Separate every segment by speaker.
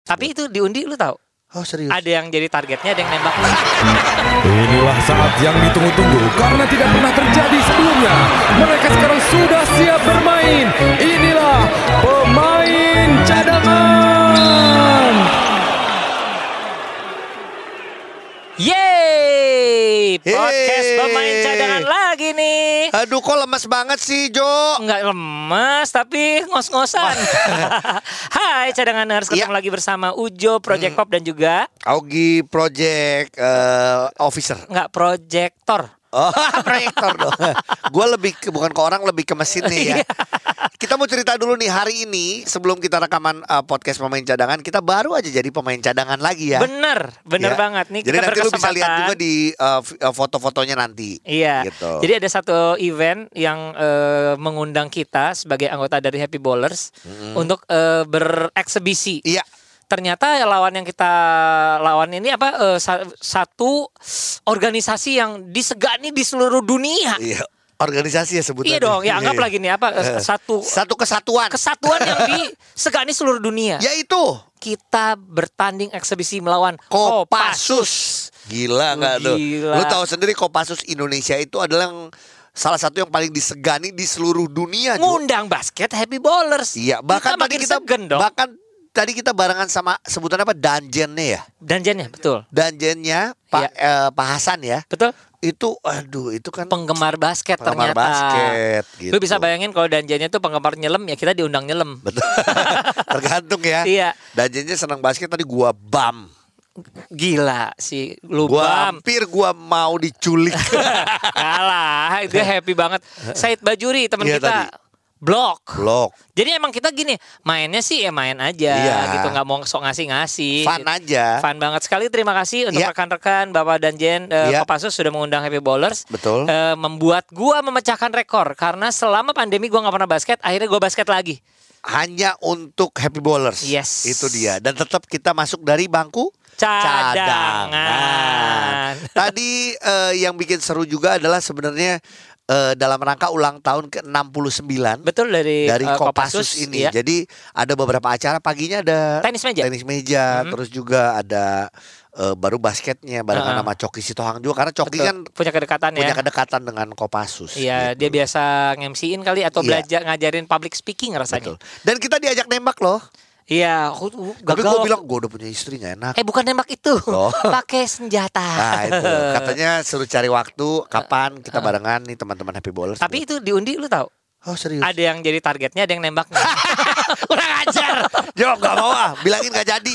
Speaker 1: Iya.
Speaker 2: Tapi itu diundi lu tahu?
Speaker 1: Oh serius.
Speaker 2: Ada yang jadi targetnya, ada yang nembak.
Speaker 3: Inilah saat yang ditunggu-tunggu karena tidak pernah terjadi sebelumnya. Mereka sekarang sudah siap bermain. Inilah pemain cadangan.
Speaker 2: Yeay! Podcast
Speaker 1: Yeay.
Speaker 2: pemain cadangan lagi nih.
Speaker 1: Aduh kok lemas banget sih Jo.
Speaker 2: Nggak lemas tapi ngos-ngosan. Hai cadanganers, ketemu
Speaker 1: Iya. Hmm.
Speaker 2: lagi bersama Ujo Project Pop dan juga
Speaker 1: Augie Project eh, Officer.
Speaker 2: nggak proyektor.
Speaker 1: Oh proyektor dong. Gue lebih ke, bukan ke orang lebih ke mesin nih ya.
Speaker 2: Iya.
Speaker 1: Kita mau cerita dulu nih hari ini sebelum kita rekaman eh, podcast pemain cadangan kita baru aja jadi pemain cadangan lagi ya.
Speaker 2: Bener, bener
Speaker 1: Ya.
Speaker 2: banget nih
Speaker 1: Jadi
Speaker 2: kita
Speaker 1: nanti lu bisa
Speaker 2: berkesempatan.
Speaker 1: lihat juga di eh, vi- eh, foto-fotonya nanti.
Speaker 2: Iya.
Speaker 1: Gitu.
Speaker 2: Jadi ada satu event yang eh, mengundang kita sebagai anggota dari Happy Bowlers
Speaker 1: Hmm.
Speaker 2: untuk eh, bereksebisi.
Speaker 1: Iya.
Speaker 2: Ternyata ya lawan yang kita lawan ini apa eh, sa- satu organisasi yang disegani di seluruh dunia.
Speaker 1: Iya. Organisasi ya sebutannya.
Speaker 2: Iya dong, ya anggap
Speaker 1: Iya.
Speaker 2: lagi nih apa eh, satu
Speaker 1: Satu kesatuan.
Speaker 2: kesatuan yang disegani seluruh dunia.
Speaker 1: Yaitu
Speaker 2: Kita bertanding eksebisi melawan
Speaker 1: Kopassus. Gila nggak tuh?
Speaker 2: Gila.
Speaker 1: Lu tahu sendiri Kopassus Indonesia itu adalah yang salah satu yang paling disegani di seluruh dunia. Jo.
Speaker 2: Ngundang basket Happy Bowlers.
Speaker 1: Iya, bahkan tadi
Speaker 2: makin
Speaker 1: kita
Speaker 2: segen dong.
Speaker 1: bahkan tadi kita barengan sama sebutan apa Danjennya ya?
Speaker 2: Danjannya betul.
Speaker 1: Danjennya Pak
Speaker 2: Iya.
Speaker 1: eh, Pak Hasan ya.
Speaker 2: Betul.
Speaker 1: Itu aduh itu kan
Speaker 2: Penggemar basket
Speaker 1: Penggemar
Speaker 2: ternyata.
Speaker 1: basket, gitu.
Speaker 2: Lu bisa bayangin kalau danjannya tuh penggemar nyelem ya kita diundang nyelem.
Speaker 1: betul. Tergantung ya.
Speaker 2: Iya.
Speaker 1: Danjennya senang basket tadi gua bam.
Speaker 2: Gila si
Speaker 1: Gua
Speaker 2: Lubam.
Speaker 1: hampir gua mau diculik.
Speaker 2: Kalah, dia happy banget. Said Bajuri teman
Speaker 1: Iya,
Speaker 2: kita.
Speaker 1: tadi.
Speaker 2: Blok.
Speaker 1: Blok.
Speaker 2: Jadi emang kita gini, mainnya sih ya main aja
Speaker 1: Iya.
Speaker 2: gitu, nggak mau sok ngasih-ngasih.
Speaker 1: Fun
Speaker 2: gitu.
Speaker 1: aja.
Speaker 2: Fun banget sekali. Terima kasih untuk
Speaker 1: Iya.
Speaker 2: rekan-rekan Bapak dan Jen eh,
Speaker 1: Iya.
Speaker 2: Kopassus sudah mengundang Happy Bowlers.
Speaker 1: Betul.
Speaker 2: Eh, membuat gua memecahkan rekor karena selama pandemi gua nggak pernah basket, akhirnya gua basket lagi.
Speaker 1: hanya untuk happy bowlers.
Speaker 2: Yes.
Speaker 1: Itu dia. Dan tetap kita masuk dari bangku
Speaker 2: Cadangan.
Speaker 1: Tadi eh, yang bikin seru juga adalah sebenarnya eh, dalam rangka ulang tahun ke-69
Speaker 2: Betul dari
Speaker 1: dari
Speaker 2: eh,
Speaker 1: Kopassus ini.
Speaker 2: iya.
Speaker 1: Jadi ada beberapa acara paginya ada
Speaker 2: Tenis meja.
Speaker 1: Tenis meja,
Speaker 2: Mm-hmm.
Speaker 1: terus juga ada eh, baru basketnya barengan
Speaker 2: Heeh.
Speaker 1: sama Coki Sitohang juga karena Coki
Speaker 2: Betul.
Speaker 1: kan
Speaker 2: punya kedekatan
Speaker 1: punya
Speaker 2: ya.
Speaker 1: kedekatan dengan Kopassus.
Speaker 2: Iya, dia
Speaker 1: gitu.
Speaker 2: biasa ngemsiin kali atau
Speaker 1: Iya.
Speaker 2: belajar ngajarin public speaking
Speaker 1: Betul.
Speaker 2: rasanya.
Speaker 1: Dan kita diajak nembak loh.
Speaker 2: Iya, aku- aku
Speaker 1: Tapi
Speaker 2: gagal.
Speaker 1: gue bilang gue udah punya istri gak enak.
Speaker 2: eh bukan nembak itu,
Speaker 1: Oh.
Speaker 2: pakai senjata.
Speaker 1: Nah itu katanya suruh cari waktu kapan kita barengan nih teman-teman Happy Bowlers. gitu.
Speaker 2: Tapi itu diundi lu tahu?
Speaker 1: oh serius?
Speaker 2: Ada yang jadi targetnya, ada yang nembaknya.
Speaker 1: Kurang ajar. Jawab gak mau ah, bilangin gak jadi.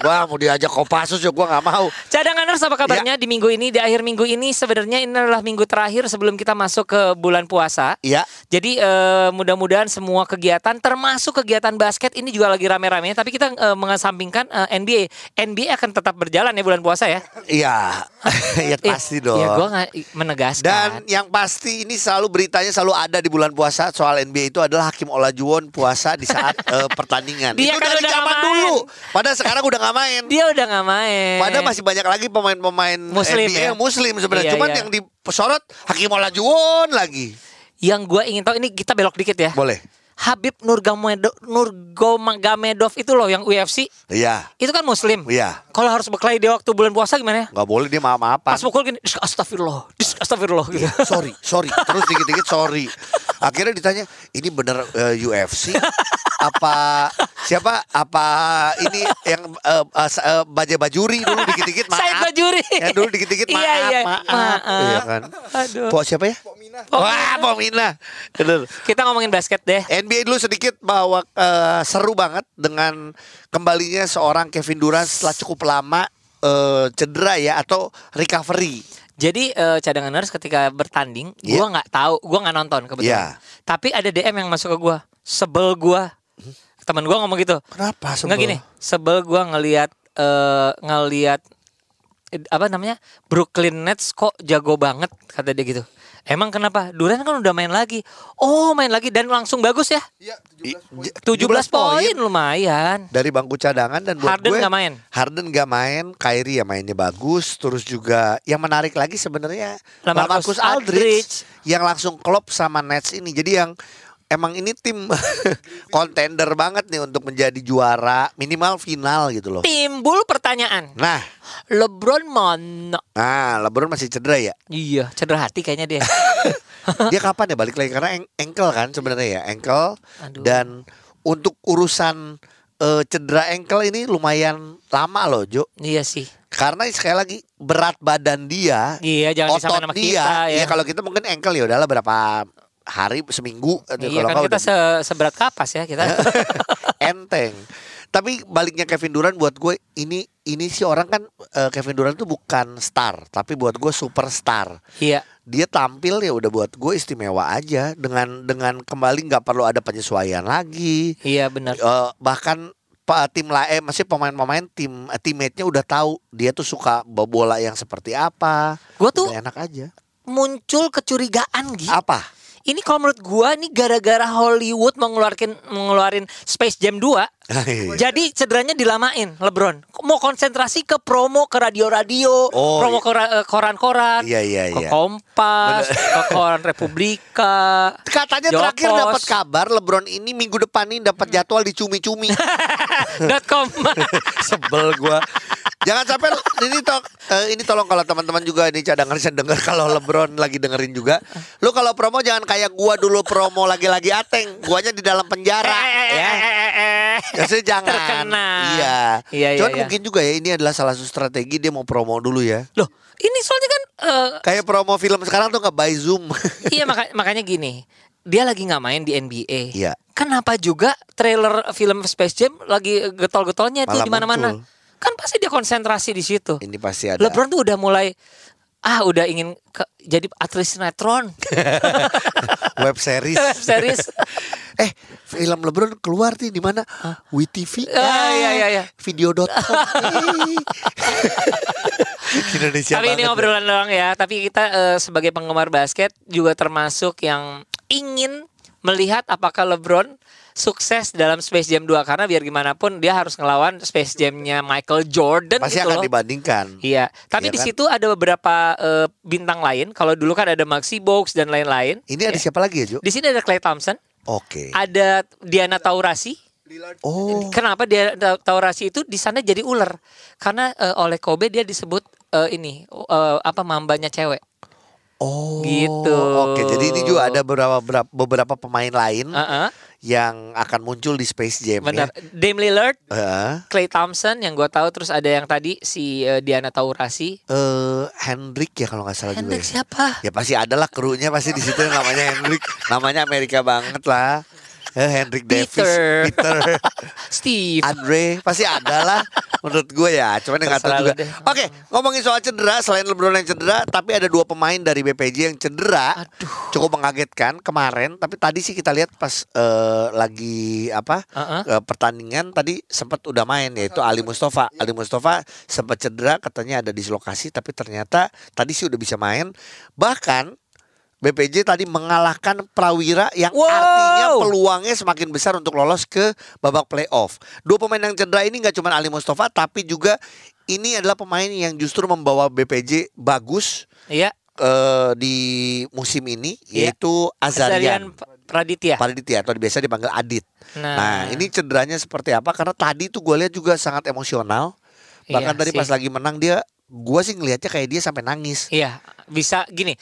Speaker 1: Gua mau diajak Kopassus ya gua gak mau.
Speaker 2: Cadanganers apa kabarnya
Speaker 1: Iya.
Speaker 2: di minggu ini, di akhir minggu ini sebenarnya ini adalah minggu terakhir sebelum kita masuk ke bulan puasa.
Speaker 1: Iya.
Speaker 2: Jadi eh, mudah-mudahan semua kegiatan termasuk kegiatan basket ini juga lagi rame-rame tapi kita eh, mengesampingkan eh, NBA. NBA akan tetap berjalan ya bulan puasa ya.
Speaker 1: Iya. ya pasti dong.
Speaker 2: Ya gue menegaskan.
Speaker 1: Dan yang pasti ini selalu beritanya selalu ada di bulan puasa soal NBA itu adalah Hakim Olajuwon puasa di saat eh, pertandingan.
Speaker 2: Dia
Speaker 1: itu
Speaker 2: kan
Speaker 1: dari
Speaker 2: udah
Speaker 1: zaman
Speaker 2: nggak main.
Speaker 1: dulu. Padahal sekarang udah gak main.
Speaker 2: dia udah nggak main.
Speaker 1: Padahal masih banyak lagi pemain-pemain
Speaker 2: Muslim
Speaker 1: NBA
Speaker 2: ya?
Speaker 1: yang muslim
Speaker 2: Iya,
Speaker 1: sebenarnya. Cuman
Speaker 2: iya.
Speaker 1: yang disorot Hakim Olajuwon lagi.
Speaker 2: Yang gue ingin tahu ini kita belok dikit ya.
Speaker 1: Boleh.
Speaker 2: Habib Nurgamedov, Nurgamedov itu loh yang UFC
Speaker 1: Iya.
Speaker 2: itu kan Muslim.
Speaker 1: Iya.
Speaker 2: Kalau harus berkelahi di waktu bulan puasa gimana ya?
Speaker 1: Gak boleh dia maaf maafan
Speaker 2: Pas mukul gini, "Disk, astagfirullah, disk, astagfirullah gitu.
Speaker 1: Sorry, sorry. Terus dikit-dikit sorry. Akhirnya ditanya, ini bener eh, UFC? apa siapa apa ini yang eh, eh, sa- eh, baja bajuri dulu dikit-dikit maaf
Speaker 2: Said Bajuri.
Speaker 1: ya dulu dikit-dikit maaf
Speaker 2: Iya, iya.
Speaker 1: maaf,
Speaker 2: Maaf.
Speaker 1: Iya kan
Speaker 2: Aduh.
Speaker 1: Po siapa ya wah Pomina bener
Speaker 2: Kita ngomongin basket deh.
Speaker 1: NBA dulu sedikit bahwa eh, seru banget dengan kembalinya seorang Kevin Durant setelah cukup lama eh, cedera ya atau recovery.
Speaker 2: Jadi eh, cadanganers ketika bertanding,
Speaker 1: Iya.
Speaker 2: gua nggak tahu, gua nggak nonton kebetulan. Tapi ada DM yang masuk ke gua, sebel gua.
Speaker 1: Hmm.
Speaker 2: Temen gua ngomong gitu.
Speaker 1: Kenapa sebel?
Speaker 2: Nggak gini, sebel gua ngelihat eh, ngelihat eh, apa namanya? Brooklyn Nets kok jago banget kata dia gitu. Emang kenapa? Duran kan udah main lagi. Oh, main lagi dan langsung bagus ya.
Speaker 1: I- j-
Speaker 2: 17 poin lumayan.
Speaker 1: dari bangku cadangan dan buat
Speaker 2: Harden
Speaker 1: gue
Speaker 2: nggak main.
Speaker 1: Harden nggak main, Kyrie ya mainnya bagus, terus juga yang menarik lagi sebenarnya
Speaker 2: LaMarcus
Speaker 1: LaMarcus Aldridge,
Speaker 2: Aldridge.
Speaker 1: yang langsung klop sama Nets ini. Jadi yang emang ini tim kontender banget nih untuk menjadi juara minimal final gitu loh.
Speaker 2: Timbul pertanyaan.
Speaker 1: Nah,
Speaker 2: LeBron mana?
Speaker 1: nah LeBron masih cedera ya.
Speaker 2: Iya, cedera hati kayaknya dia.
Speaker 1: Dia kapan ya balik lagi karena eng- ankle kan sebenarnya ya, ankle
Speaker 2: Aduh.
Speaker 1: dan untuk urusan eh, cedera ankle ini lumayan lama loh, Jo.
Speaker 2: iya sih.
Speaker 1: Karena sekali lagi berat badan dia,
Speaker 2: Iya, jangan disamain
Speaker 1: otot
Speaker 2: sama
Speaker 1: dia.
Speaker 2: kita ya.
Speaker 1: ya kalau kita mungkin ankle ya udahlah berapa hari seminggu atau
Speaker 2: Iya
Speaker 1: kalau
Speaker 2: kan
Speaker 1: nggak
Speaker 2: kita
Speaker 1: udah
Speaker 2: se- seberat kapas ya kita.
Speaker 1: enteng. Tapi baliknya Kevin Durant buat gue ini ini si orang kan eh, Kevin Durant tuh bukan star, tapi buat gue superstar.
Speaker 2: iya.
Speaker 1: Dia tampil ya udah buat gue istimewa aja dengan dengan kembali nggak perlu ada penyesuaian lagi.
Speaker 2: Iya benar.
Speaker 1: Eh, bahkan pa- tim lain masih pemain-pemain tim eh, teammate-nya udah tahu dia tuh suka bo- bola yang seperti apa.
Speaker 2: Gue tuh
Speaker 1: Udah enak aja.
Speaker 2: muncul kecurigaan gitu.
Speaker 1: Apa?
Speaker 2: Ini kalau menurut gua nih gara-gara Hollywood mengeluarkan mengeluarin Space Jam 2
Speaker 1: Oh, iya.
Speaker 2: Jadi cederanya dilamain LeBron. Mau konsentrasi ke promo ke radio-radio,
Speaker 1: Oh,
Speaker 2: promo ke ra- eh, koran-koran,
Speaker 1: Iya iya
Speaker 2: ke
Speaker 1: iya.
Speaker 2: Kompas, ke koran Republika.
Speaker 1: Katanya
Speaker 2: Jokos.
Speaker 1: terakhir dapat kabar LeBron ini minggu depan nih dapat jadwal di cumi-cumi.
Speaker 2: dot com.
Speaker 1: Sebel gua. Jangan sampai lo- ini to- eh, ini tolong kalau teman-teman juga ini cadangan saya dengar kalau LeBron lagi dengerin juga. Lu kalau promo jangan kayak gua dulu promo lagi-lagi ateng. Guanya di dalam penjara
Speaker 2: Eh,
Speaker 1: ya. Maksudnya jangan.
Speaker 2: Terkena.
Speaker 1: Iya.
Speaker 2: Iya, iya,
Speaker 1: Cuman
Speaker 2: iya.
Speaker 1: mungkin juga ya ini adalah salah satu strategi dia mau promo dulu ya.
Speaker 2: Loh, ini soalnya kan eh,
Speaker 1: Kayak promo film sekarang tuh nggak by Zoom.
Speaker 2: iya maka- makanya gini. Dia lagi nggak main di NBA.
Speaker 1: Iya.
Speaker 2: Kenapa juga trailer film Space Jam lagi getol-getolnya tuh
Speaker 1: Malah
Speaker 2: di mana-mana?
Speaker 1: muncul.
Speaker 2: Kan pasti dia konsentrasi di situ.
Speaker 1: ini pasti ada.
Speaker 2: LeBron tuh udah mulai ah udah ingin ke- jadi aktris sinetron
Speaker 1: Iya web series.
Speaker 2: web series
Speaker 1: eh, film LeBron keluar nih di mana? WeTV.
Speaker 2: Ah,
Speaker 1: Eh,
Speaker 2: iya, iya, iya.
Speaker 1: Video.com. Hey. Indonesia
Speaker 2: tapi ini
Speaker 1: banget.
Speaker 2: obrolan doang ya tapi kita eh, sebagai penggemar basket juga termasuk yang ingin melihat apakah LeBron sukses dalam Space Jam 2 karena biar gimana pun dia harus ngelawan Space Jamnya Michael Jordan
Speaker 1: Pasti
Speaker 2: gitu
Speaker 1: akan
Speaker 2: loh.
Speaker 1: dibandingkan.
Speaker 2: Iya, tapi
Speaker 1: Iya
Speaker 2: di
Speaker 1: kan?
Speaker 2: situ ada beberapa eh, bintang lain. Kalau dulu kan ada Maxi Box dan lain-lain.
Speaker 1: Ini ada siapa lagi ya, Jo?
Speaker 2: Di sini ada Clay Thompson,
Speaker 1: Oke.
Speaker 2: Iya. ada Diana Taurasi,
Speaker 1: Iya. Oh.
Speaker 2: Kenapa dia Tau- Taurasi itu di sana jadi ular? Karena eh, oleh Kobe dia disebut eh, ini eh, apa mambanya cewek.
Speaker 1: Oh.
Speaker 2: Gitu.
Speaker 1: Oke, jadi ini juga ada beberapa beberapa- beberapa pemain lain
Speaker 2: Heeh,
Speaker 1: yang akan muncul di Space Jam
Speaker 2: Ah. benar.
Speaker 1: ya. Eh,
Speaker 2: Dame Lillard,
Speaker 1: Heeh.
Speaker 2: Clay Thompson yang gua tahu terus ada yang tadi si eh, Diana Taurasi.
Speaker 1: eh Hendrik ya kalau nggak salah
Speaker 2: Hendrik
Speaker 1: juga. Ya.
Speaker 2: siapa?
Speaker 1: ya pasti ada lah krunya pasti di situ namanya Hendrik, namanya Amerika banget lah. Eh, Hendrik Davis,
Speaker 2: Peter.
Speaker 1: Peter,
Speaker 2: Steve.
Speaker 1: Andre, pasti ada lah. Menurut gue ya, cuman yang nggak tahu
Speaker 2: Terserah lu
Speaker 1: juga.
Speaker 2: deh.
Speaker 1: Oke, ngomongin soal cedera, selain LeBron yang cedera, tapi ada dua pemain dari BPJ yang cedera.
Speaker 2: Aduh.
Speaker 1: Cukup mengagetkan kemarin, tapi tadi sih kita lihat pas eh, lagi apa
Speaker 2: Heeh.
Speaker 1: eh, pertandingan tadi sempat udah main iya. yaitu Ali Mustafa. Ali Mustafa sempat cedera katanya ada dislokasi tapi ternyata tadi sih udah bisa main. Bahkan BPJ tadi mengalahkan Prawira yang
Speaker 2: Wow.
Speaker 1: artinya peluangnya semakin besar untuk lolos ke babak playoff. Dua pemain yang cedera ini nggak cuma Ali Mustafa tapi juga ini adalah pemain yang justru membawa BPJ bagus
Speaker 2: Iya.
Speaker 1: eh, di musim ini
Speaker 2: Iya.
Speaker 1: yaitu Azarian. ya.
Speaker 2: Azarian P- Praditya.
Speaker 1: Parditya atau biasa dipanggil Adit.
Speaker 2: Nah.
Speaker 1: Nah, ini cederanya seperti apa? Karena tadi tuh gue lihat juga sangat emosional. Bahkan
Speaker 2: Iya
Speaker 1: tadi
Speaker 2: sih.
Speaker 1: pas lagi menang dia, gue sih ngelihatnya kayak dia sampai nangis.
Speaker 2: Iya, bisa gini.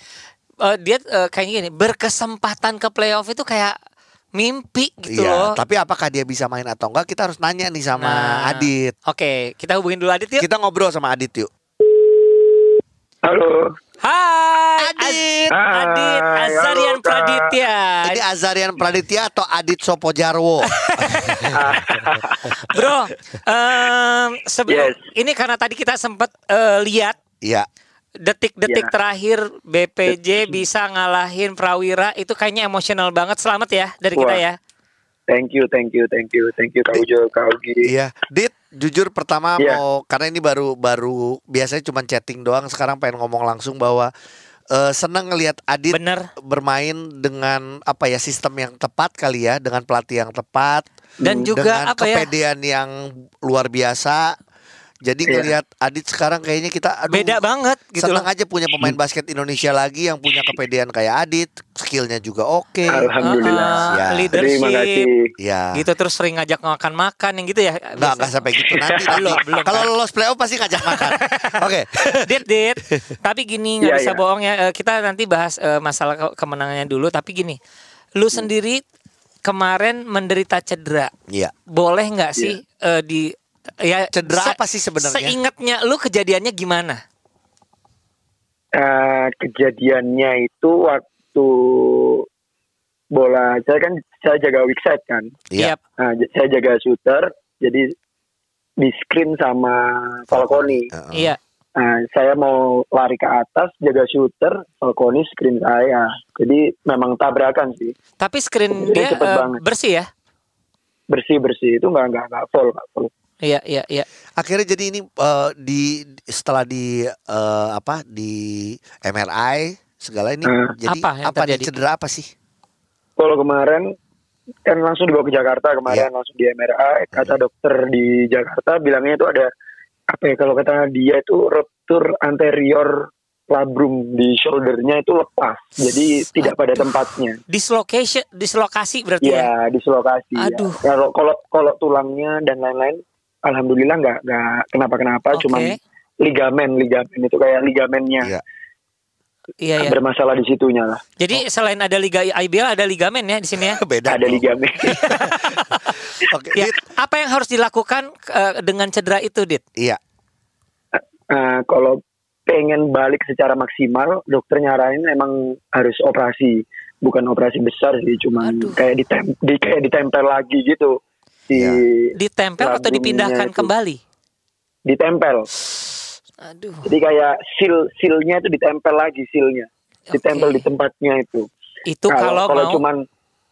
Speaker 2: Eh, dia eh, kayaknya gini, berkesempatan ke playoff itu kayak mimpi gitu loh.
Speaker 1: Iya. Tapi apakah dia bisa main atau enggak? Kita harus nanya nih sama
Speaker 2: Nah,
Speaker 1: Adit.
Speaker 2: Oke, kita hubungin dulu Adit yuk.
Speaker 1: Kita ngobrol sama Adit yuk.
Speaker 4: Halo.
Speaker 2: Hai
Speaker 1: Adit.
Speaker 2: Az- Adit
Speaker 4: Hai,
Speaker 2: Azarian
Speaker 4: halo, Kak.
Speaker 2: Praditya
Speaker 1: Ini Azarian Praditya atau Adit Sopojarwo?
Speaker 2: Bro em, sebe-
Speaker 4: Yes.
Speaker 2: Ini karena tadi kita sempat eh, lihat
Speaker 1: Iya.
Speaker 2: Detik-detik
Speaker 4: Ya.
Speaker 2: terakhir BPJ bisa ngalahin Prawira Itu kayaknya emosional banget Selamat ya dari kita
Speaker 4: Wah.
Speaker 2: ya
Speaker 4: Thank you, thank you, thank you, thank you, Kak Ujo, Kak Ugi.
Speaker 1: Iya, Dit, jujur pertama
Speaker 4: Iya.
Speaker 1: mau karena ini baru baru biasanya cuma chatting doang, sekarang pengen ngomong langsung bahwa eh, senang ngelihat Adit
Speaker 2: Bener.
Speaker 1: bermain dengan apa ya sistem yang tepat kali ya, dengan pelatih yang tepat
Speaker 2: Dan juga
Speaker 1: dengan
Speaker 2: apa ya?
Speaker 1: kepedean yang luar biasa. Jadi
Speaker 4: Iya.
Speaker 1: ngelihat Adit sekarang kayaknya kita aduh,
Speaker 2: Beda banget gitu
Speaker 1: senang
Speaker 2: loh.
Speaker 1: aja punya pemain basket Indonesia lagi yang punya kepedean kayak Adit, skillnya juga oke.
Speaker 4: Alhamdulillah.
Speaker 2: Ah, ah,
Speaker 1: Ya.
Speaker 2: leadership.
Speaker 4: Terima kasih.
Speaker 1: Ya.
Speaker 2: Gitu terus sering ngajak makan-makan yang gitu ya.
Speaker 1: Nggak, nggak sampai gitu nanti.
Speaker 2: Belum,
Speaker 1: nanti.
Speaker 2: belum.
Speaker 1: Kalau lolos playoff pasti ngajak makan. Oke.
Speaker 2: Dit, dit. Tapi gini nggak
Speaker 4: Iya,
Speaker 2: bisa
Speaker 4: iya.
Speaker 2: bohong ya. Eh, Kita nanti bahas eh, masalah ke- kemenangannya dulu. Tapi gini, lu
Speaker 1: Hmm.
Speaker 2: sendiri kemarin menderita cedera.
Speaker 1: Iya.
Speaker 2: Boleh nggak sih eh, di ya
Speaker 1: Cedera
Speaker 2: se-
Speaker 1: apa sih sebenarnya?
Speaker 2: Seingatnya lu kejadiannya gimana?
Speaker 4: Eh, kejadiannya itu waktu bola saya kan saya jaga weak side kan.
Speaker 1: Iya.
Speaker 2: Yap.
Speaker 4: Nah, j- saya jaga shooter jadi di screen sama Falcone.
Speaker 1: Heeh.
Speaker 2: Iya.
Speaker 4: Nah, saya mau lari ke atas jaga shooter, Falcone screen saya. Jadi memang tabrakan sih.
Speaker 2: Tapi screen
Speaker 4: Jadi
Speaker 2: dia
Speaker 4: Iya, cepet
Speaker 2: eh,
Speaker 4: banget.
Speaker 2: bersih ya?
Speaker 4: Bersih-bersih itu nggak nggak nggak full, nggak full.
Speaker 2: Iya, iya, iya.
Speaker 1: Akhirnya jadi ini eh, di setelah di eh, apa di MRI segala ini
Speaker 4: Eh.
Speaker 1: jadi
Speaker 2: Apa
Speaker 1: apa,
Speaker 2: yang
Speaker 1: nih
Speaker 2: terjadi?
Speaker 1: cedera apa sih?
Speaker 4: Kalau kemarin kan langsung dibawa ke Jakarta
Speaker 2: Iya.
Speaker 4: kemarin langsung di MRI eh, kata dokter di Jakarta bilangnya itu ada apa ya kalau kata dia itu ruptur anterior labrum di shouldernya itu lepas jadi tidak pada tempatnya
Speaker 2: Dislocation, dislokasi berarti ya.
Speaker 4: ya dislokasi ya.
Speaker 2: Aduh.
Speaker 4: kalau kalau kalau tulangnya dan lain-lain alhamdulillah nggak nggak kenapa kenapa
Speaker 2: Oke.
Speaker 4: cuman ligamen ligamen itu kayak ligamennya
Speaker 1: Iya.
Speaker 2: Iya, iya.
Speaker 4: bermasalah di situnya lah
Speaker 2: Jadi selain ada liga IBL ada ligamen ya di sini ya.
Speaker 1: Beda.
Speaker 4: ada
Speaker 1: dong.
Speaker 4: ligamen
Speaker 1: Oke,
Speaker 2: Ya,
Speaker 1: Iya. Dit.
Speaker 2: apa yang harus dilakukan eh, dengan cedera itu, Dit?
Speaker 1: Iya.
Speaker 4: Eh, kalau pengen balik secara maksimal, dokter nyaranin emang harus operasi, bukan operasi besar sih, cuman
Speaker 2: Aduh. Iya.
Speaker 4: kayak ditem di kayak ditempel lagi gitu. Di
Speaker 1: Ya.
Speaker 2: Ditempel atau
Speaker 4: Labungnya
Speaker 2: dipindahkan
Speaker 4: itu.
Speaker 2: kembali?
Speaker 4: ditempel.
Speaker 2: Aduh.
Speaker 4: Jadi kayak seal sealnya itu ditempel lagi sealnya, ditempel
Speaker 2: Oke.
Speaker 4: di tempatnya itu.
Speaker 2: Itu kalau,
Speaker 4: kalau
Speaker 2: mau
Speaker 4: cuman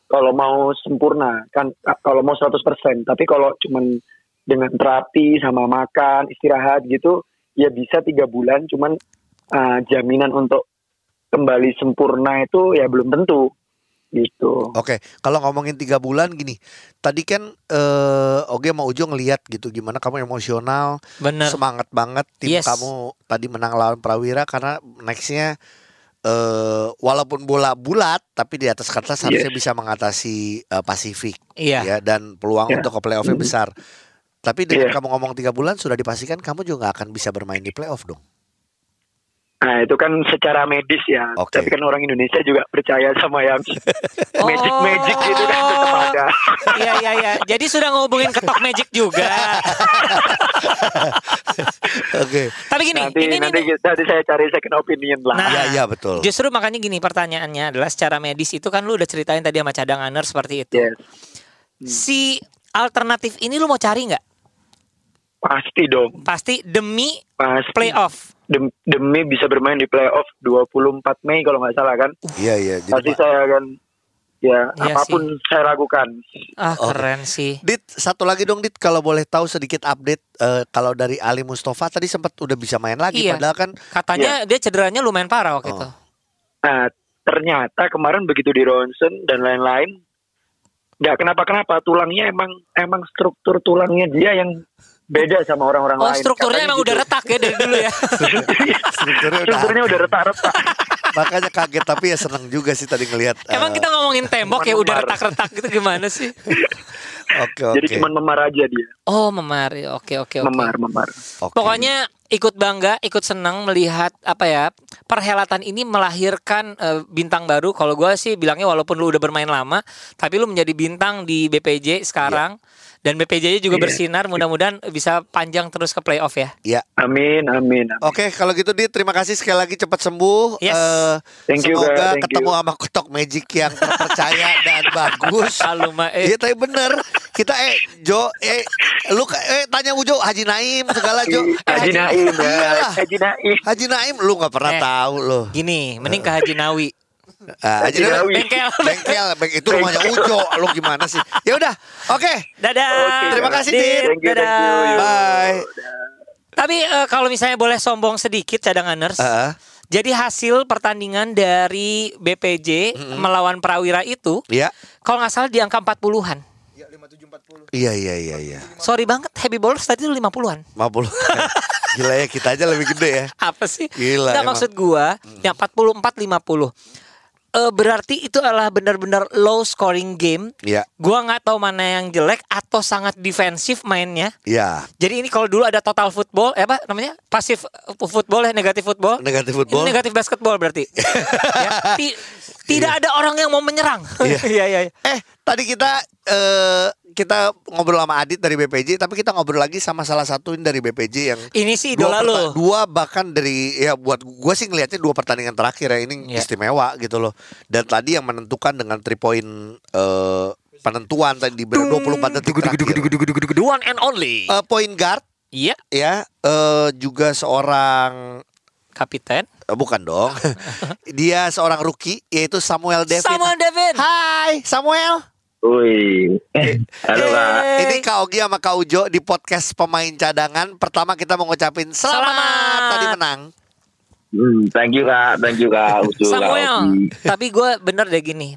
Speaker 4: kalau mau sempurna kan kalau mau 100%, tapi kalau cuman dengan terapi sama makan, istirahat gitu ya bisa tiga bulan cuman uh, jaminan untuk kembali sempurna itu ya belum tentu gitu.
Speaker 1: Oke, kalau ngomongin tiga bulan gini, tadi kan eh, Oge mau Ujo ngeliat gitu gimana kamu emosional,
Speaker 2: bener.
Speaker 1: semangat banget tim
Speaker 2: Yes.
Speaker 1: kamu tadi menang lawan Prawira karena nextnya eh walaupun bola bulat tapi di atas kertas harusnya bisa mengatasi eh, Pasifik
Speaker 2: Iya.
Speaker 1: ya dan peluang
Speaker 4: Ya.
Speaker 1: untuk ke playoffnya besar. Tapi dengan
Speaker 4: Iya.
Speaker 1: kamu ngomong tiga bulan sudah dipastikan kamu juga gak akan bisa bermain di playoff dong.
Speaker 4: Nah, itu kan secara medis ya.
Speaker 1: Oke.
Speaker 4: Tapi kan orang Indonesia juga percaya sama yang
Speaker 2: Oh.
Speaker 4: magic-magic gitu kan tetap ada.
Speaker 2: Iya, iya, iya. Jadi sudah ngehubungin ketok magic juga.
Speaker 1: Oke.
Speaker 2: Tapi gini,
Speaker 4: nanti
Speaker 2: ini
Speaker 4: nanti, gitu.
Speaker 2: nih.
Speaker 4: nanti saya cari second opinion lah.
Speaker 2: Nah.
Speaker 1: Iya iya betul.
Speaker 2: Justru makanya gini pertanyaannya adalah secara medis itu kan lu udah ceritain tadi sama cadanganer seperti itu.
Speaker 4: Yes. Iya.
Speaker 2: Si alternatif ini lu mau cari nggak?
Speaker 4: Pasti dong.
Speaker 2: Pasti demi
Speaker 4: Pasti.
Speaker 2: playoff.
Speaker 4: Dem- demi bisa bermain di playoff 24 Mei kalau nggak salah kan.
Speaker 1: Iya iya. Jadi
Speaker 4: Pasti
Speaker 1: Pak-
Speaker 4: saya akan ya
Speaker 2: Iya
Speaker 4: apapun saya lakukan.
Speaker 2: Ah,
Speaker 1: Oh.
Speaker 2: keren sih.
Speaker 1: Dit, satu lagi dong Dit, kalau boleh tahu sedikit update eh, kalau dari Ali Mustafa tadi sempat udah bisa main lagi,
Speaker 2: Iya.
Speaker 1: padahal kan
Speaker 2: Katanya
Speaker 4: Iya.
Speaker 2: dia cederanya lumayan parah waktu
Speaker 1: Oh.
Speaker 2: itu.
Speaker 4: Nah, ternyata kemarin begitu di ronsen dan lain-lain nggak kenapa-kenapa tulangnya emang emang struktur tulangnya dia yang beda sama orang-orang
Speaker 2: Oh,
Speaker 4: lain.
Speaker 2: strukturnya
Speaker 4: Katanya
Speaker 2: emang
Speaker 4: gitu.
Speaker 2: udah retak ya dari dulu ya.
Speaker 1: strukturnya udah
Speaker 4: strukturnya udah retak-retak.
Speaker 1: makanya kaget tapi ya seneng juga sih tadi ngelihat. eh,
Speaker 2: Emang kita ngomongin tembok ya
Speaker 4: Cuman
Speaker 2: udah
Speaker 4: memar.
Speaker 2: retak-retak gitu gimana sih?
Speaker 1: Oke oke.
Speaker 4: Jadi cuman memar aja dia.
Speaker 2: Oh memar, Ya, oke oke oke.
Speaker 4: Memar, memar.
Speaker 1: Oke.
Speaker 2: Pokoknya ikut bangga, ikut senang melihat apa ya perhelatan ini melahirkan eh, bintang baru. Kalau gue sih bilangnya walaupun lu udah bermain lama, tapi lu menjadi bintang di BPJ sekarang dan BPJ juga
Speaker 4: Iya.
Speaker 2: bersinar. Mudah-mudahan bisa panjang terus ke playoff ya.
Speaker 1: ya.
Speaker 4: Amin, amin. amin.
Speaker 1: Oke, kalau gitu Dit, terima kasih sekali lagi cepat sembuh.
Speaker 2: Yes.
Speaker 1: Eh,
Speaker 4: Thank you,
Speaker 1: semoga
Speaker 4: Kak. Thank
Speaker 1: ketemu
Speaker 4: you.
Speaker 1: sama ketok magic yang terpercaya dan bagus.
Speaker 2: Aluma eh.
Speaker 1: Iya tapi bener kita eh Jo eh lu eh tanya Ujo Haji Naim segala Jo Eh,
Speaker 4: Haji Naim, ya.
Speaker 1: iyalah.
Speaker 4: Haji Naim.
Speaker 1: Haji Naim lu nggak pernah
Speaker 2: Eh.
Speaker 1: tahu lo.
Speaker 2: Gini, mending ke Haji Nawi.
Speaker 1: Ah, Haji
Speaker 4: Haji
Speaker 1: Naim
Speaker 4: Naim.
Speaker 2: Bengkel.
Speaker 1: bengkel, beng itu rumahnya Ujo. Lu gimana sih? Ya udah, oke.
Speaker 2: Dadah.
Speaker 4: Oke,
Speaker 1: Terima kasih, Dit.
Speaker 4: Thank you, thank you.
Speaker 2: Dadah.
Speaker 1: Bye.
Speaker 2: Tapi eh, kalau misalnya boleh sombong sedikit cadanganers.
Speaker 1: Heeh.
Speaker 2: Jadi hasil pertandingan dari BPJ melawan Prawira itu
Speaker 1: Iya.
Speaker 2: kalau nggak salah di angka 40-an.
Speaker 5: Ya 5740.
Speaker 1: Iya iya iya iya.
Speaker 2: Sorry banget Happy Bowlers tadi tuh 50-an.
Speaker 1: 50. Gila ya kita aja lebih gede ya.
Speaker 2: Apa sih? Mm.
Speaker 1: Gila,
Speaker 2: Nggak,
Speaker 1: emang.
Speaker 2: maksud gua yang 44 50. Eh berarti itu adalah benar-benar low scoring game.
Speaker 1: Iya.
Speaker 2: Gua nggak tahu mana yang jelek atau sangat defensif mainnya.
Speaker 1: Iya.
Speaker 2: Jadi ini kalau dulu ada total football, eh apa namanya? Pasif eh, football ya, negatif football.
Speaker 1: Negatif football.
Speaker 2: Ini negatif basketball berarti. Ya, ti- tidak ada orang yang mau menyerang.
Speaker 1: Iya.
Speaker 2: Iya, iya. iya.
Speaker 1: Eh, tadi kita eh kita ngobrol sama Adit dari BPJ, tapi kita ngobrol lagi sama salah satu ini dari BPJ yang
Speaker 2: Ini sih idola
Speaker 1: perta-
Speaker 2: lo.
Speaker 1: dua bahkan dari ya buat gua sih ngelihatnya dua pertandingan terakhir ya ini
Speaker 2: Iya.
Speaker 1: istimewa gitu loh. Dan tadi yang menentukan dengan 3 point eh, penentuan tadi di 24 detik terakhir.
Speaker 2: The one and only.
Speaker 1: Eh, point guard
Speaker 2: Iya,
Speaker 1: ya eh juga seorang
Speaker 2: kapiten.
Speaker 1: eh, bukan dong. Dia seorang rookie yaitu Samuel Devin.
Speaker 2: Samuel Devin.
Speaker 1: Hai Samuel.
Speaker 6: Wih, halo kak.
Speaker 2: Yeay.
Speaker 1: Ini Kak Ogi sama Kak Ujo di podcast pemain cadangan. Pertama kita mau ngucapin selamat,
Speaker 2: Selamat.
Speaker 1: tadi menang.
Speaker 6: Hmm, thank you kak, thank you kak. Ucu, Kak Oki.
Speaker 2: Samuel. Tapi gue bener deh gini.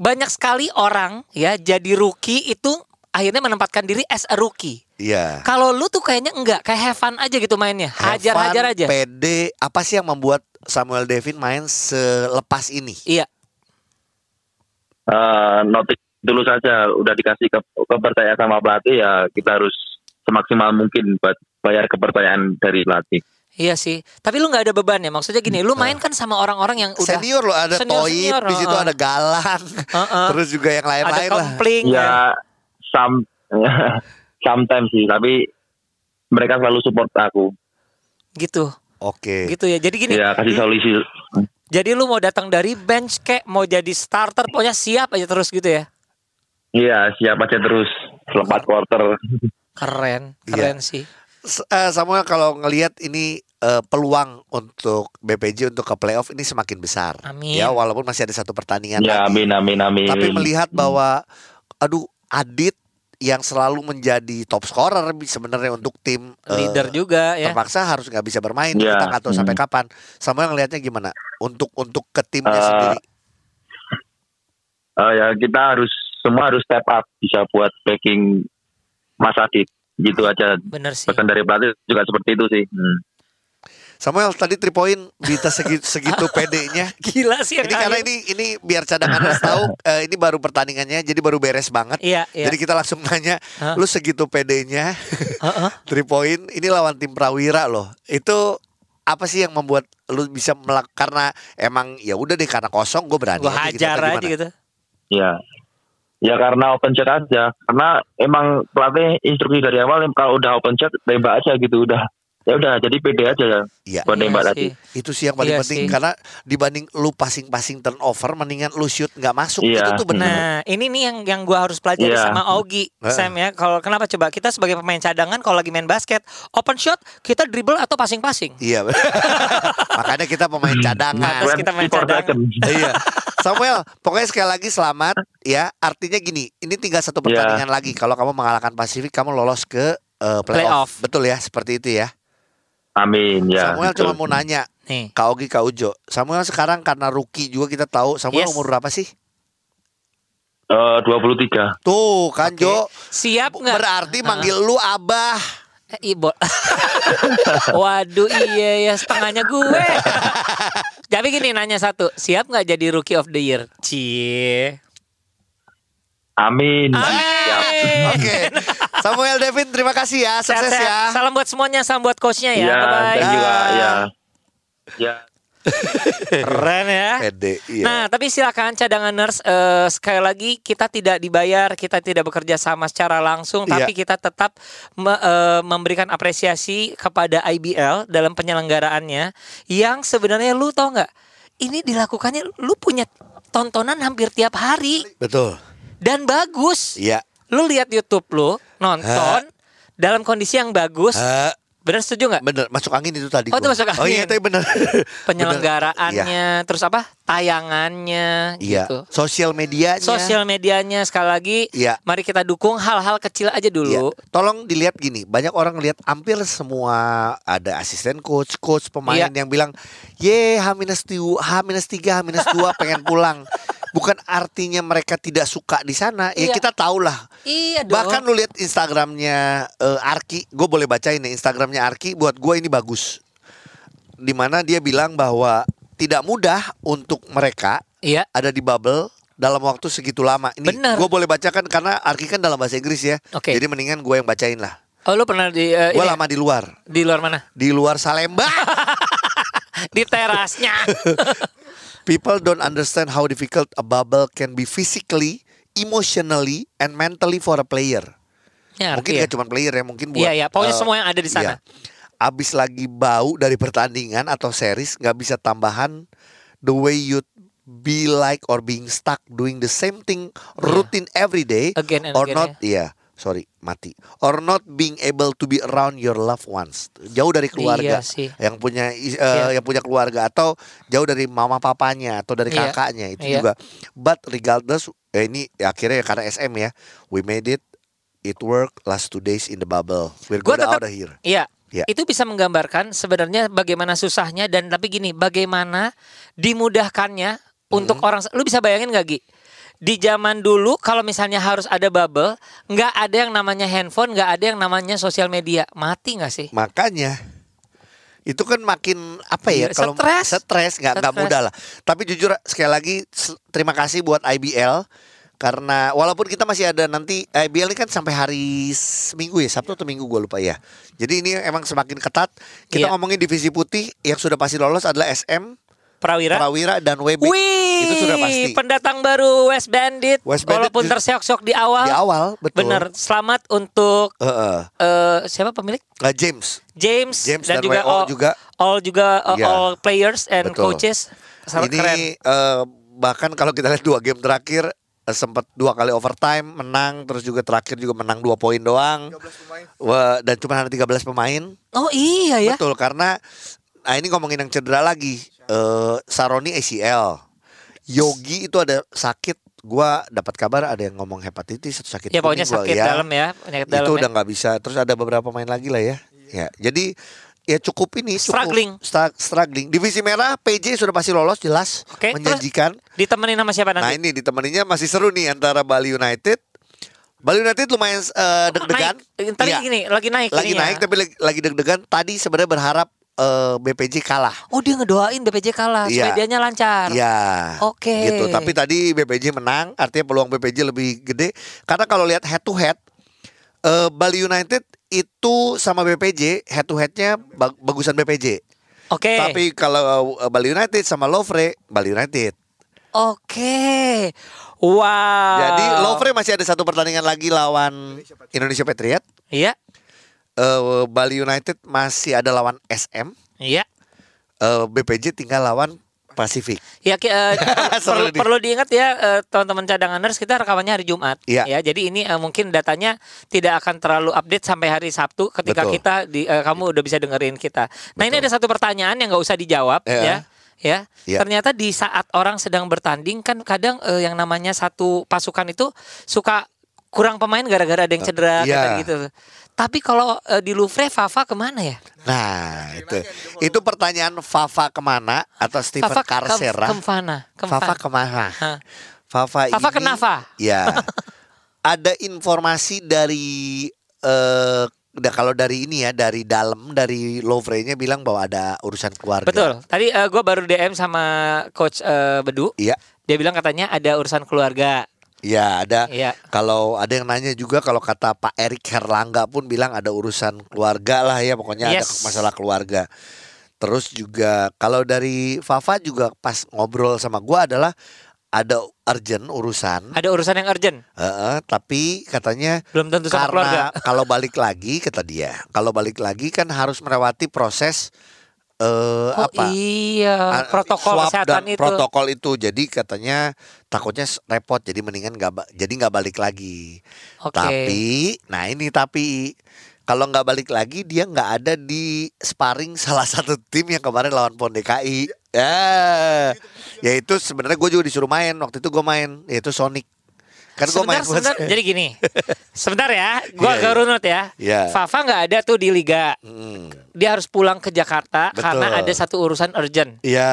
Speaker 2: Banyak sekali orang ya jadi rookie itu akhirnya menempatkan diri as a rookie.
Speaker 1: Iya.
Speaker 2: Kalau lu tuh kayaknya enggak, kayak have fun aja gitu mainnya. Hajar-hajar aja.
Speaker 1: PD apa sih yang membuat Samuel Devin main selepas ini?
Speaker 2: Iya.
Speaker 6: Eh, notik dulu saja, udah dikasih ke kepercayaan sama pelatih ya kita harus semaksimal mungkin buat bayar kepercayaan dari pelatih.
Speaker 2: Iya sih, tapi lu nggak ada beban ya. Maksudnya gini, lu main kan sama orang-orang yang udah
Speaker 1: Nah. Senior loh ada
Speaker 2: Senior,
Speaker 1: Toib,
Speaker 2: senior,
Speaker 1: di situ
Speaker 2: heeh.
Speaker 1: ada Galang,
Speaker 2: Heeh.
Speaker 1: terus juga yang
Speaker 2: ada
Speaker 1: lain-lain lah.
Speaker 2: kompling.
Speaker 4: Iya.
Speaker 6: Ya, some, sometimes sih, tapi mereka selalu support aku.
Speaker 2: gitu
Speaker 1: Oke.
Speaker 2: gitu ya jadi gini
Speaker 6: Ya kasih solusi.
Speaker 2: jadi lu mau datang dari bench kek mau jadi starter pokoknya siap aja terus gitu ya
Speaker 6: Iya, siap aja terus selepas quarter.
Speaker 2: keren
Speaker 1: Iya.
Speaker 2: keren sih
Speaker 1: S- eh, Samuel kalau ngelihat ini eh, peluang untuk BPJ untuk ke playoff ini semakin besar.
Speaker 2: Amin.
Speaker 1: Ya walaupun masih ada satu pertandingan
Speaker 6: Ya,
Speaker 1: lagi.
Speaker 6: amin, amin, amin.
Speaker 1: tapi
Speaker 2: Iya.
Speaker 1: melihat bahwa aduh Adit yang selalu menjadi top scorer sebenarnya untuk tim eh,
Speaker 2: leader juga ya Iya.
Speaker 1: terpaksa harus nggak bisa bermain
Speaker 6: Ya.
Speaker 1: kita nggak tahu sampai
Speaker 6: Hmm.
Speaker 1: kapan sama ngelihatnya gimana untuk untuk ke timnya
Speaker 6: Eh,
Speaker 1: sendiri
Speaker 6: Eh, ya kita harus semua harus step up bisa buat backing Mas Adit gitu aja
Speaker 2: bener sih
Speaker 6: pesan dari pelatih juga seperti itu sih hmm.
Speaker 1: Samuel tadi 3 point bisa segitu, segitu pedenya
Speaker 2: gila sih yang
Speaker 1: ini karena
Speaker 2: lain.
Speaker 1: ini ini biar cadangan harus tahu eh, ini baru pertandingannya jadi baru beres banget
Speaker 2: iya iya
Speaker 1: Jadi kita langsung nanya,
Speaker 2: Hah?
Speaker 1: lu segitu pedenya
Speaker 2: Heeh.
Speaker 1: three point ini lawan tim Prawira loh. Itu apa sih yang membuat lu bisa melak karena emang ya udah deh karena kosong gue berani.
Speaker 2: gua
Speaker 1: aja gitu,
Speaker 2: hajar
Speaker 1: atau
Speaker 2: aja
Speaker 1: gimana?
Speaker 2: gitu
Speaker 6: ya ya karena open chat aja karena emang pelatih instruksi dari awal kalau udah open chat tembak aja gitu udah ya udah jadi pede aja ya
Speaker 1: Iya.
Speaker 6: buat tembak
Speaker 2: Iya
Speaker 6: tadi
Speaker 2: sih.
Speaker 1: Itu sih yang paling
Speaker 2: Iya
Speaker 1: penting
Speaker 2: sih.
Speaker 1: karena dibanding lu passing-passing turnover mendingan lu shoot nggak masuk.
Speaker 6: Iya.
Speaker 1: Itu tuh benar.
Speaker 2: Nah, ini nih yang yang gua harus pelajari
Speaker 6: Iya.
Speaker 2: sama Augie,
Speaker 1: Heeh.
Speaker 2: Sam ya. Kalau kenapa coba kita sebagai pemain cadangan kalau lagi main basket, open shot kita dribble atau passing-passing.
Speaker 1: Iya. Makanya kita pemain
Speaker 6: Hmm.
Speaker 1: cadangan.
Speaker 2: Terus kita main
Speaker 6: 24
Speaker 2: cadangan.
Speaker 6: second.
Speaker 1: iya. Samuel, pokoknya sekali lagi selamat ya. Artinya gini, ini tinggal satu
Speaker 6: Iya.
Speaker 1: pertandingan lagi. Kalau kamu mengalahkan Pasifik, kamu lolos ke eh,
Speaker 2: Playoff.
Speaker 1: playoff. Betul ya, seperti itu ya.
Speaker 6: amin ya
Speaker 1: Samuel
Speaker 6: betul.
Speaker 1: cuma mau nanya,
Speaker 2: Nih.
Speaker 1: Kak Ogi, Kak Ujo. Samuel sekarang karena rookie juga kita tahu.
Speaker 2: Yes.
Speaker 1: Samuel umur berapa sih?
Speaker 6: Eh, 23
Speaker 1: Tuh, kan
Speaker 2: Oke.
Speaker 1: Jo.
Speaker 2: Siap nggak?
Speaker 1: Berarti manggil lu abah.
Speaker 2: Eh, Ibo. Waduh iya ya setengahnya gue. Tapi gini nanya satu, siap nggak jadi rookie of the year? Cie.
Speaker 6: amin siap
Speaker 2: Hai.
Speaker 1: Oke. Samuel Devin, terima kasih ya. Sukses
Speaker 2: Sehat-sehat.
Speaker 1: ya.
Speaker 2: Salam buat semuanya, salam buat coachnya ya.
Speaker 6: ya
Speaker 2: Bye-bye.
Speaker 6: thank you Kak. ya ya
Speaker 2: Keren ya.
Speaker 1: Pede, iya.
Speaker 2: Nah, tapi silakan cadangan nurse eh, sekali lagi kita tidak dibayar, kita tidak bekerja sama secara langsung,
Speaker 1: Iya.
Speaker 2: tapi kita tetap me- eh, memberikan apresiasi kepada IBL dalam penyelenggaraannya yang sebenarnya lu tau nggak? Ini dilakukannya lu punya tontonan hampir tiap hari
Speaker 1: Betul.
Speaker 2: dan bagus.
Speaker 1: Iya.
Speaker 2: Lu lihat YouTube lu nonton dalam kondisi yang bagus.
Speaker 1: Eh,
Speaker 2: Bener setuju nggak?
Speaker 1: bener, masuk angin itu tadi.
Speaker 2: Oh, itu
Speaker 1: gua.
Speaker 2: masuk
Speaker 1: Oh iya,
Speaker 2: angin.
Speaker 1: itu bener. Bener.
Speaker 2: Penyelenggaraannya, terus apa? Tayangannya
Speaker 1: Iya.
Speaker 2: gitu.
Speaker 1: Sosial medianya.
Speaker 2: sosial medianya sekali lagi
Speaker 1: Iya.
Speaker 2: mari kita dukung hal-hal kecil aja
Speaker 1: Iya.
Speaker 2: dulu
Speaker 1: Tolong dilihat gini, banyak orang lihat hampir semua ada asisten coach, coach pemain
Speaker 2: Iya.
Speaker 1: yang bilang, "Ye, H-2, H-3, H-2 pengen pulang." bukan artinya mereka tidak suka di sana. Ya
Speaker 2: Iya.
Speaker 1: kita tahulah.
Speaker 2: Iya dong.
Speaker 1: Bahkan lu lihat Instagramnya eh, Arki, gue boleh bacain ya Instagramnya Arki. Buat gue ini bagus. Dimana dia bilang bahwa tidak mudah untuk mereka
Speaker 2: iya.
Speaker 1: ada di bubble dalam waktu segitu lama. Ini
Speaker 2: Benar.
Speaker 1: gue boleh bacakan karena Arki kan dalam bahasa Inggris ya.
Speaker 2: Oke.
Speaker 1: Jadi mendingan gue yang bacain lah.
Speaker 2: Oh lu pernah di eh, ini ya?
Speaker 1: Gue
Speaker 2: Ah.
Speaker 1: lama di luar,
Speaker 2: di luar mana?
Speaker 1: di luar Salemba.
Speaker 2: Di terasnya.
Speaker 1: People don't understand how difficult a bubble can be physically, emotionally, and mentally for a player.
Speaker 2: Ya,
Speaker 1: Mungkin
Speaker 2: arti ya.
Speaker 1: gak cuma player ya, mungkin buat.
Speaker 2: Iya, iya. Pokoknya
Speaker 1: eh,
Speaker 2: semua yang ada di sana.
Speaker 1: iya. Abis lagi bau dari pertandingan atau series, nggak bisa tambahan the way you be like or being stuck doing the same thing
Speaker 2: Iya.
Speaker 1: routine every day
Speaker 2: Again and
Speaker 1: or
Speaker 2: again, ya.
Speaker 1: not iya sorry mati or not being able to be around your loved ones jauh dari
Speaker 2: Iya
Speaker 1: keluarga
Speaker 2: sih.
Speaker 1: yang punya is- eh,
Speaker 2: Iya.
Speaker 1: yang punya keluarga atau jauh dari mama papanya atau dari
Speaker 2: Iya.
Speaker 1: kakaknya itu
Speaker 2: Iya.
Speaker 1: juga but regardless eh, ini ya, akhirnya ya karena SM ya we made it it worked last two days in the bubble we're
Speaker 2: Gua
Speaker 1: gonna
Speaker 2: tetap-
Speaker 1: out of here
Speaker 2: Iya.
Speaker 1: Iya.
Speaker 2: Itu bisa menggambarkan sebenarnya bagaimana susahnya dan tapi gini, bagaimana dimudahkannya untuk
Speaker 1: Hmm.
Speaker 2: orang lu bisa bayangin gak Gi? Di zaman dulu kalau misalnya harus ada bubble, nggak ada yang namanya handphone, nggak ada yang namanya sosial media. Mati nggak sih?
Speaker 1: makanya itu kan makin apa ya
Speaker 2: Iya,
Speaker 1: kalau
Speaker 2: stres.
Speaker 1: stres nggak nggak
Speaker 2: Stres.
Speaker 1: mudah lah tapi jujur sekali lagi s- terima kasih buat IBL karena walaupun kita masih ada nanti IBL ini kan sampai hari seminggu ya Sabtu atau Minggu gue lupa ya jadi ini emang semakin ketat
Speaker 2: Iya.
Speaker 1: kita ngomongin divisi putih yang sudah pasti lolos adalah SM
Speaker 2: Prawira.
Speaker 1: Prawira dan WB
Speaker 2: Wih,
Speaker 1: itu sudah pasti
Speaker 2: pendatang baru West Bandit,
Speaker 1: West Bandit
Speaker 2: walaupun
Speaker 1: ju-
Speaker 2: terseok-seok di awal.
Speaker 1: di awal betul
Speaker 2: Benar. Selamat untuk
Speaker 1: Heeh.
Speaker 2: eh, siapa pemilik?
Speaker 1: Nah, James
Speaker 2: James,
Speaker 1: James
Speaker 2: dan,
Speaker 1: dan
Speaker 2: juga,
Speaker 1: WO
Speaker 2: all,
Speaker 1: juga.
Speaker 2: all juga uh,
Speaker 1: Iya.
Speaker 2: all players and
Speaker 1: Betul.
Speaker 2: coaches. Sangat
Speaker 1: ini
Speaker 2: keren.
Speaker 1: eh, bahkan kalau kita lihat dua game terakhir eh, sempat dua kali overtime menang terus juga terakhir juga menang dua poin doang Wah, dan cuma ada 13 pemain
Speaker 2: Oh iya ya.
Speaker 1: betul karena nah ini ngomongin yang cedera lagi Eh, Saroni ACL Yogi itu ada sakit gua dapat kabar ada yang ngomong hepatitis atau sakit
Speaker 2: Ya pokoknya
Speaker 1: kuning, gua-
Speaker 2: sakit
Speaker 1: ya.
Speaker 2: dalam ya, penyakit dalam.
Speaker 1: itu
Speaker 2: ya.
Speaker 1: udah nggak bisa terus ada beberapa pemain lagi lah ya ya jadi ya cukup ini cukup
Speaker 2: Struggling.
Speaker 1: stra- struggling divisi merah PJ sudah pasti lolos jelas
Speaker 2: Oke, terus
Speaker 1: menjanjikan
Speaker 2: Ditemenin sama siapa
Speaker 1: Nah
Speaker 2: nanti?
Speaker 1: ini ditemaninya masih seru nih antara Bali United. Bali United lumayan eh, deg-degan.
Speaker 2: Ah, Naik. Tadi
Speaker 1: Iya,
Speaker 2: gini, lagi naik. ya.
Speaker 1: lagi
Speaker 2: ininya.
Speaker 1: naik tapi lagi, lagi deg-degan. Tadi sebenarnya berharap eh, BPJ kalah.
Speaker 2: Oh dia ngedoain BPJ kalah,
Speaker 1: Iya.
Speaker 2: sepedanya lancar.
Speaker 1: Iya.
Speaker 2: Oke.
Speaker 1: Gitu. Tapi tadi BPJ menang, artinya peluang BPJ lebih gede. Karena kalau lihat head to head eh, Bali United itu sama BPJ head to headnya bag- bagusan BPJ.
Speaker 2: Oke.
Speaker 1: Tapi kalau eh, Bali United sama Lovre, Bali United.
Speaker 2: Oke. Wow.
Speaker 1: Jadi Lovre masih ada satu pertandingan lagi lawan Indonesia Patriot.
Speaker 2: Iya.
Speaker 1: eh Bali United masih ada lawan SM,
Speaker 2: Iya.
Speaker 1: eh, BPJ tinggal lawan Pasifik.
Speaker 2: Ya ki- eh, perlu,
Speaker 1: Seru nih.
Speaker 2: perlu diingat ya eh, teman-teman cadanganers kita rekamannya hari Jumat
Speaker 1: Iya.
Speaker 2: ya. Jadi ini eh, mungkin datanya tidak akan terlalu update sampai hari Sabtu ketika
Speaker 1: Betul.
Speaker 2: kita di eh, kamu udah bisa dengerin kita. Nah, ini ada satu pertanyaan yang nggak usah dijawab
Speaker 1: Iya.
Speaker 2: ya. Ya,
Speaker 1: Iya.
Speaker 2: ternyata di saat orang sedang bertanding kan kadang eh, yang namanya satu pasukan itu suka kurang pemain gara-gara ada yang cedera
Speaker 1: Iya.
Speaker 2: kata gitu. Tapi kalau eh, di Louvre Fafa kemana ya?
Speaker 1: Nah, itu itu pertanyaan Fafa kemana atau Steven
Speaker 2: Fafa ke-
Speaker 1: Karsera?
Speaker 2: kemana?
Speaker 1: Fafa
Speaker 2: Kemana?
Speaker 1: kemana?
Speaker 2: Hah.
Speaker 1: Fafa,
Speaker 2: Fafa
Speaker 1: ini-
Speaker 2: kenapa?
Speaker 1: Ya, ada informasi dari eh udah kalau dari ini ya dari dalam dari Lovre-nya bilang bahwa ada urusan keluarga.
Speaker 2: Betul. Tadi gue baru DM sama coach eh, Bedu.
Speaker 1: Iya.
Speaker 2: Dia bilang katanya ada urusan keluarga.
Speaker 1: Ya ada.
Speaker 2: Iya.
Speaker 1: Kalau ada yang nanya juga kalau kata Pak Erik Herlangga pun bilang ada urusan keluarga lah ya pokoknya ada
Speaker 2: Yes.
Speaker 1: masalah keluarga. Terus juga kalau dari Fafa juga pas ngobrol sama gua adalah ada urgent urusan.
Speaker 2: Ada urusan yang urgent.
Speaker 1: Heeh, tapi katanya
Speaker 2: Belum tentu sama keluarga.
Speaker 1: karena kalau balik lagi kata dia, kalau balik lagi kan harus melewati proses eh
Speaker 2: Oh
Speaker 1: apa?
Speaker 2: iya,
Speaker 1: Ah,
Speaker 2: protokol
Speaker 1: swab
Speaker 2: kesehatan
Speaker 1: dan
Speaker 2: itu.
Speaker 1: protokol itu jadi katanya takutnya s- repot jadi mendingan nggak ba- jadi nggak balik lagi
Speaker 2: Oke.
Speaker 1: tapi nah ini tapi kalau nggak balik lagi dia nggak ada di sparring salah satu tim yang kemarin lawan Pon DKI ya yaitu sebenarnya gue juga disuruh main waktu itu gue main yaitu Sonic Kan gua
Speaker 2: sebentar,
Speaker 1: main
Speaker 2: sebentar.
Speaker 1: futsal.
Speaker 2: Jadi gini. Sebentar ya, gua
Speaker 1: Iya,
Speaker 2: ke
Speaker 1: iya.
Speaker 2: runut ya.
Speaker 1: Iya.
Speaker 2: Fafa nggak ada tuh di liga.
Speaker 1: Hmm.
Speaker 2: Dia harus pulang ke Jakarta
Speaker 1: Betul.
Speaker 2: karena ada satu urusan urgent.
Speaker 1: Iya.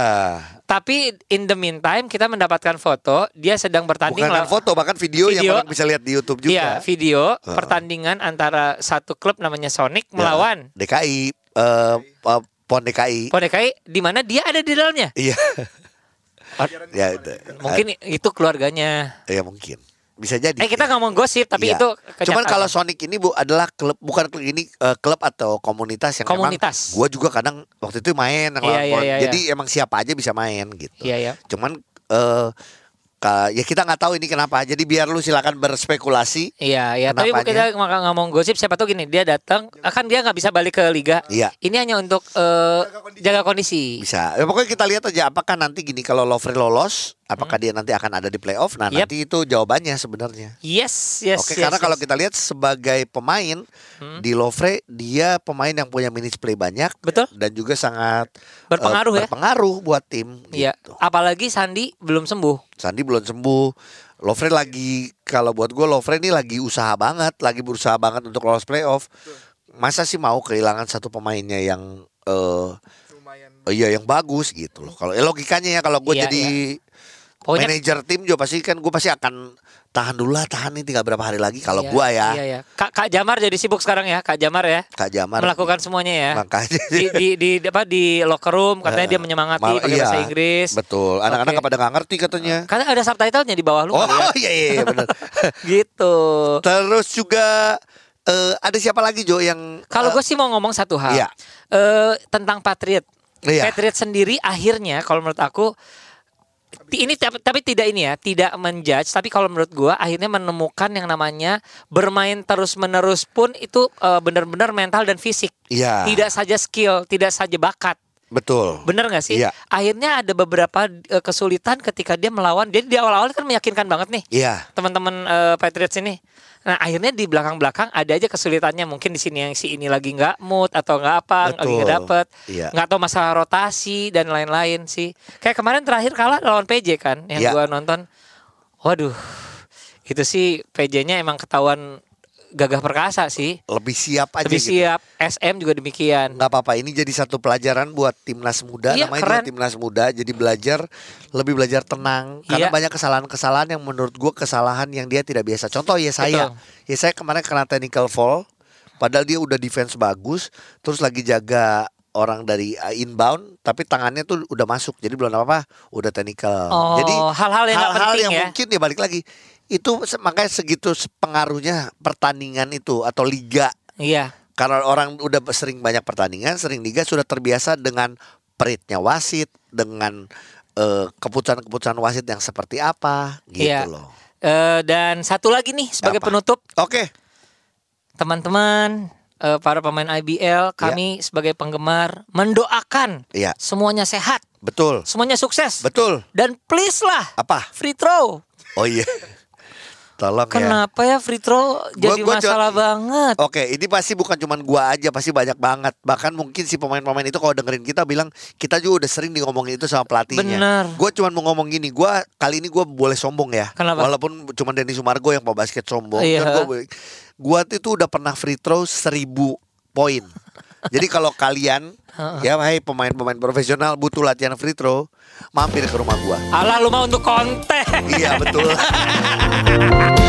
Speaker 2: Tapi in the meantime kita mendapatkan foto dia sedang bertanding
Speaker 1: Bukan kan
Speaker 2: lawan-
Speaker 1: foto, bahkan video, yang
Speaker 2: Video.
Speaker 1: orang bisa lihat di YouTube juga.
Speaker 2: Iya, video
Speaker 1: Heeh.
Speaker 2: pertandingan antara satu klub namanya Sonic melawan
Speaker 1: Ya, DKI eh, eh, Pon DKI.
Speaker 2: Pon DKI di mana dia ada di dalamnya.
Speaker 1: Iya. ya itu.
Speaker 2: Mungkin itu keluarganya.
Speaker 1: Ah, ya mungkin. Bisa jadi.
Speaker 2: Eh kita ngomong gosip tapi
Speaker 1: Iya.
Speaker 2: itu
Speaker 1: Cuman
Speaker 2: kenyataan.
Speaker 1: kalau Sonic ini Bu adalah klub bukan klub ini eh, klub atau komunitas yang
Speaker 2: Komunitas.
Speaker 1: memang gua juga kadang waktu itu main yang
Speaker 2: Iya,
Speaker 1: lawan
Speaker 2: iya,
Speaker 1: Pon.
Speaker 2: iya,
Speaker 1: Jadi emang siapa aja bisa main gitu.
Speaker 2: Iya ya.
Speaker 1: Cuman eh ka- ya kita nggak tahu ini kenapa. Jadi biar lu silakan berspekulasi.
Speaker 2: Iya, iya. Tapi
Speaker 1: Kenapanya?
Speaker 2: kita maka ngomong gosip siapa tuh gini, dia datang, akan dia nggak bisa balik ke liga.
Speaker 1: Iya.
Speaker 2: Ini hanya untuk eh, jaga kondisi.
Speaker 1: Bisa. Ya, pokoknya kita lihat aja apakah nanti gini kalau Lovre lolos, apakah dia nanti akan ada di playoff? Nah,
Speaker 2: Hmm. Yep.
Speaker 1: nanti itu jawabannya sebenarnya.
Speaker 2: Yes, yes. yes,
Speaker 1: Oke, karena
Speaker 2: yes.
Speaker 1: kalau kita lihat sebagai pemain
Speaker 2: Hmm.
Speaker 1: di Lovre dia pemain yang punya minutes play banyak
Speaker 2: Betul.
Speaker 1: dan juga sangat eh,
Speaker 2: Berpengaruh ya?
Speaker 1: Berpengaruh buat tim
Speaker 2: Iya.
Speaker 1: gitu.
Speaker 2: Apalagi Sandi belum sembuh.
Speaker 1: Sandi belum sembuh. Lovre lagi kalau buat gue Lovre ini lagi usaha banget, lagi berusaha banget untuk lolos playoff. Masa sih mau kehilangan satu pemainnya yang eh iya yang bagus gitu loh. Kalau eh, logikanya ya kalau gue
Speaker 2: Iya,
Speaker 1: jadi
Speaker 2: Pokoknya
Speaker 1: manajer tim juga pasti kan gue pasti akan tahan dulu lah tahan nih tinggal berapa hari lagi kalau
Speaker 2: Iya,
Speaker 1: gua ya
Speaker 2: Iya, iya. Kak, Kak Jamar jadi sibuk sekarang ya, Kak Jamar ya.
Speaker 1: Kak Jamar
Speaker 2: melakukan semuanya ya.
Speaker 1: Makanya.
Speaker 2: Di, di, di- apa di locker room katanya dia
Speaker 1: Eh,
Speaker 2: menyemangati
Speaker 1: mal-
Speaker 2: pakai
Speaker 1: iya,
Speaker 2: bahasa Inggris.
Speaker 1: Betul. Anak-anak
Speaker 2: Oke.
Speaker 1: pada nggak ngerti katanya.
Speaker 2: Karena ada subtitlenya di bawah lu
Speaker 1: Oh
Speaker 2: kali ya.
Speaker 1: iya iya, iya benar.
Speaker 2: Gitu.
Speaker 1: Terus juga eh, ada siapa lagi Jo yang
Speaker 2: Kalau
Speaker 1: eh,
Speaker 2: gue sih mau ngomong satu hal
Speaker 1: Iya.
Speaker 2: Eh, tentang Patriot.
Speaker 1: Iya.
Speaker 2: Patriot sendiri akhirnya kalau menurut aku ti- ini tapi, tapi tidak ini ya, tidak menjudge. Tapi kalau menurut gue akhirnya menemukan yang namanya bermain terus menerus pun itu eh, benar-benar mental dan fisik.
Speaker 1: Iya.
Speaker 2: Tidak saja skill, tidak saja bakat.
Speaker 1: betul.
Speaker 2: Bener gak sih?
Speaker 1: Iya.
Speaker 2: Akhirnya ada beberapa eh, kesulitan ketika dia melawan. Jadi di awal-awal kan meyakinkan banget nih
Speaker 1: Iya.
Speaker 2: teman-teman eh, Patriots ini. Nah akhirnya di belakang-belakang ada aja kesulitannya mungkin di sini yang si ini lagi nggak mood atau nggak apa lagi nggak
Speaker 1: Betul.
Speaker 2: dapet
Speaker 1: Iya.
Speaker 2: nggak tahu masalah rotasi dan lain-lain sih kayak kemarin terakhir kalah lawan PJ kan yang
Speaker 1: Iya.
Speaker 2: gua nonton waduh itu sih PJ-nya emang ketahuan gagah perkasa sih
Speaker 1: Lebih siap aja
Speaker 2: lebih
Speaker 1: gitu.
Speaker 2: siap SM juga demikian
Speaker 1: Nggak apa-apa ini jadi satu pelajaran buat timnas muda
Speaker 2: Iya,
Speaker 1: namanya
Speaker 2: keren.
Speaker 1: juga timnas muda jadi belajar lebih belajar tenang
Speaker 2: Iya.
Speaker 1: karena banyak kesalahan-kesalahan yang menurut gua kesalahan yang dia tidak biasa. Contoh ya saya. Ya saya kemarin kena technical fall padahal dia udah defense bagus terus lagi jaga orang dari uh, inbound tapi tangannya tuh udah masuk jadi belum apa-apa udah technical.
Speaker 2: Oh,
Speaker 1: jadi
Speaker 2: hal-hal yang nggak
Speaker 1: hal-hal
Speaker 2: penting
Speaker 1: yang
Speaker 2: ya.
Speaker 1: mungkin ya balik lagi itu se- makanya segitu pengaruhnya pertandingan itu atau liga
Speaker 2: iya
Speaker 1: karena orang udah sering banyak pertandingan, sering liga sudah terbiasa dengan peritnya wasit, dengan eh, keputusan-keputusan wasit yang seperti apa gitu
Speaker 2: Iya.
Speaker 1: loh.
Speaker 2: Eh, dan satu lagi nih sebagai
Speaker 1: Apa?
Speaker 2: penutup
Speaker 1: Oke,
Speaker 2: teman-teman eh, para pemain IBL
Speaker 1: Ya.
Speaker 2: kami sebagai penggemar mendoakan
Speaker 1: Iya.
Speaker 2: semuanya sehat
Speaker 1: betul.
Speaker 2: semuanya sukses
Speaker 1: Betul.
Speaker 2: dan please lah
Speaker 1: Apa?
Speaker 2: free throw
Speaker 1: Oh iya. Tolong ya.
Speaker 2: kenapa ya free throw
Speaker 1: Gua-
Speaker 2: jadi
Speaker 1: gua Oh. jo-
Speaker 2: masalah banget
Speaker 1: Oke, ini pasti bukan cuman gua aja, pasti banyak banget. Bahkan mungkin si pemain-pemain itu kalau dengerin kita bilang kita juga udah sering di ngomongin itu sama pelatihnya.
Speaker 2: Bener.
Speaker 1: Gua cuman mau ngomong gini, gua kali ini gua boleh sombong ya.
Speaker 2: Kenapa?
Speaker 1: Walaupun cuman Denny Sumargo yang mau basket sombong.
Speaker 2: Iya.
Speaker 1: Cuman Gua, boleh- gua tuh itu udah pernah free throw seribu poin. Jadi kalau kalian ya hai pemain-pemain profesional butuh latihan free throw, mampir ke rumah gua.
Speaker 2: Allah lu mah untuk konten
Speaker 1: iya, betul.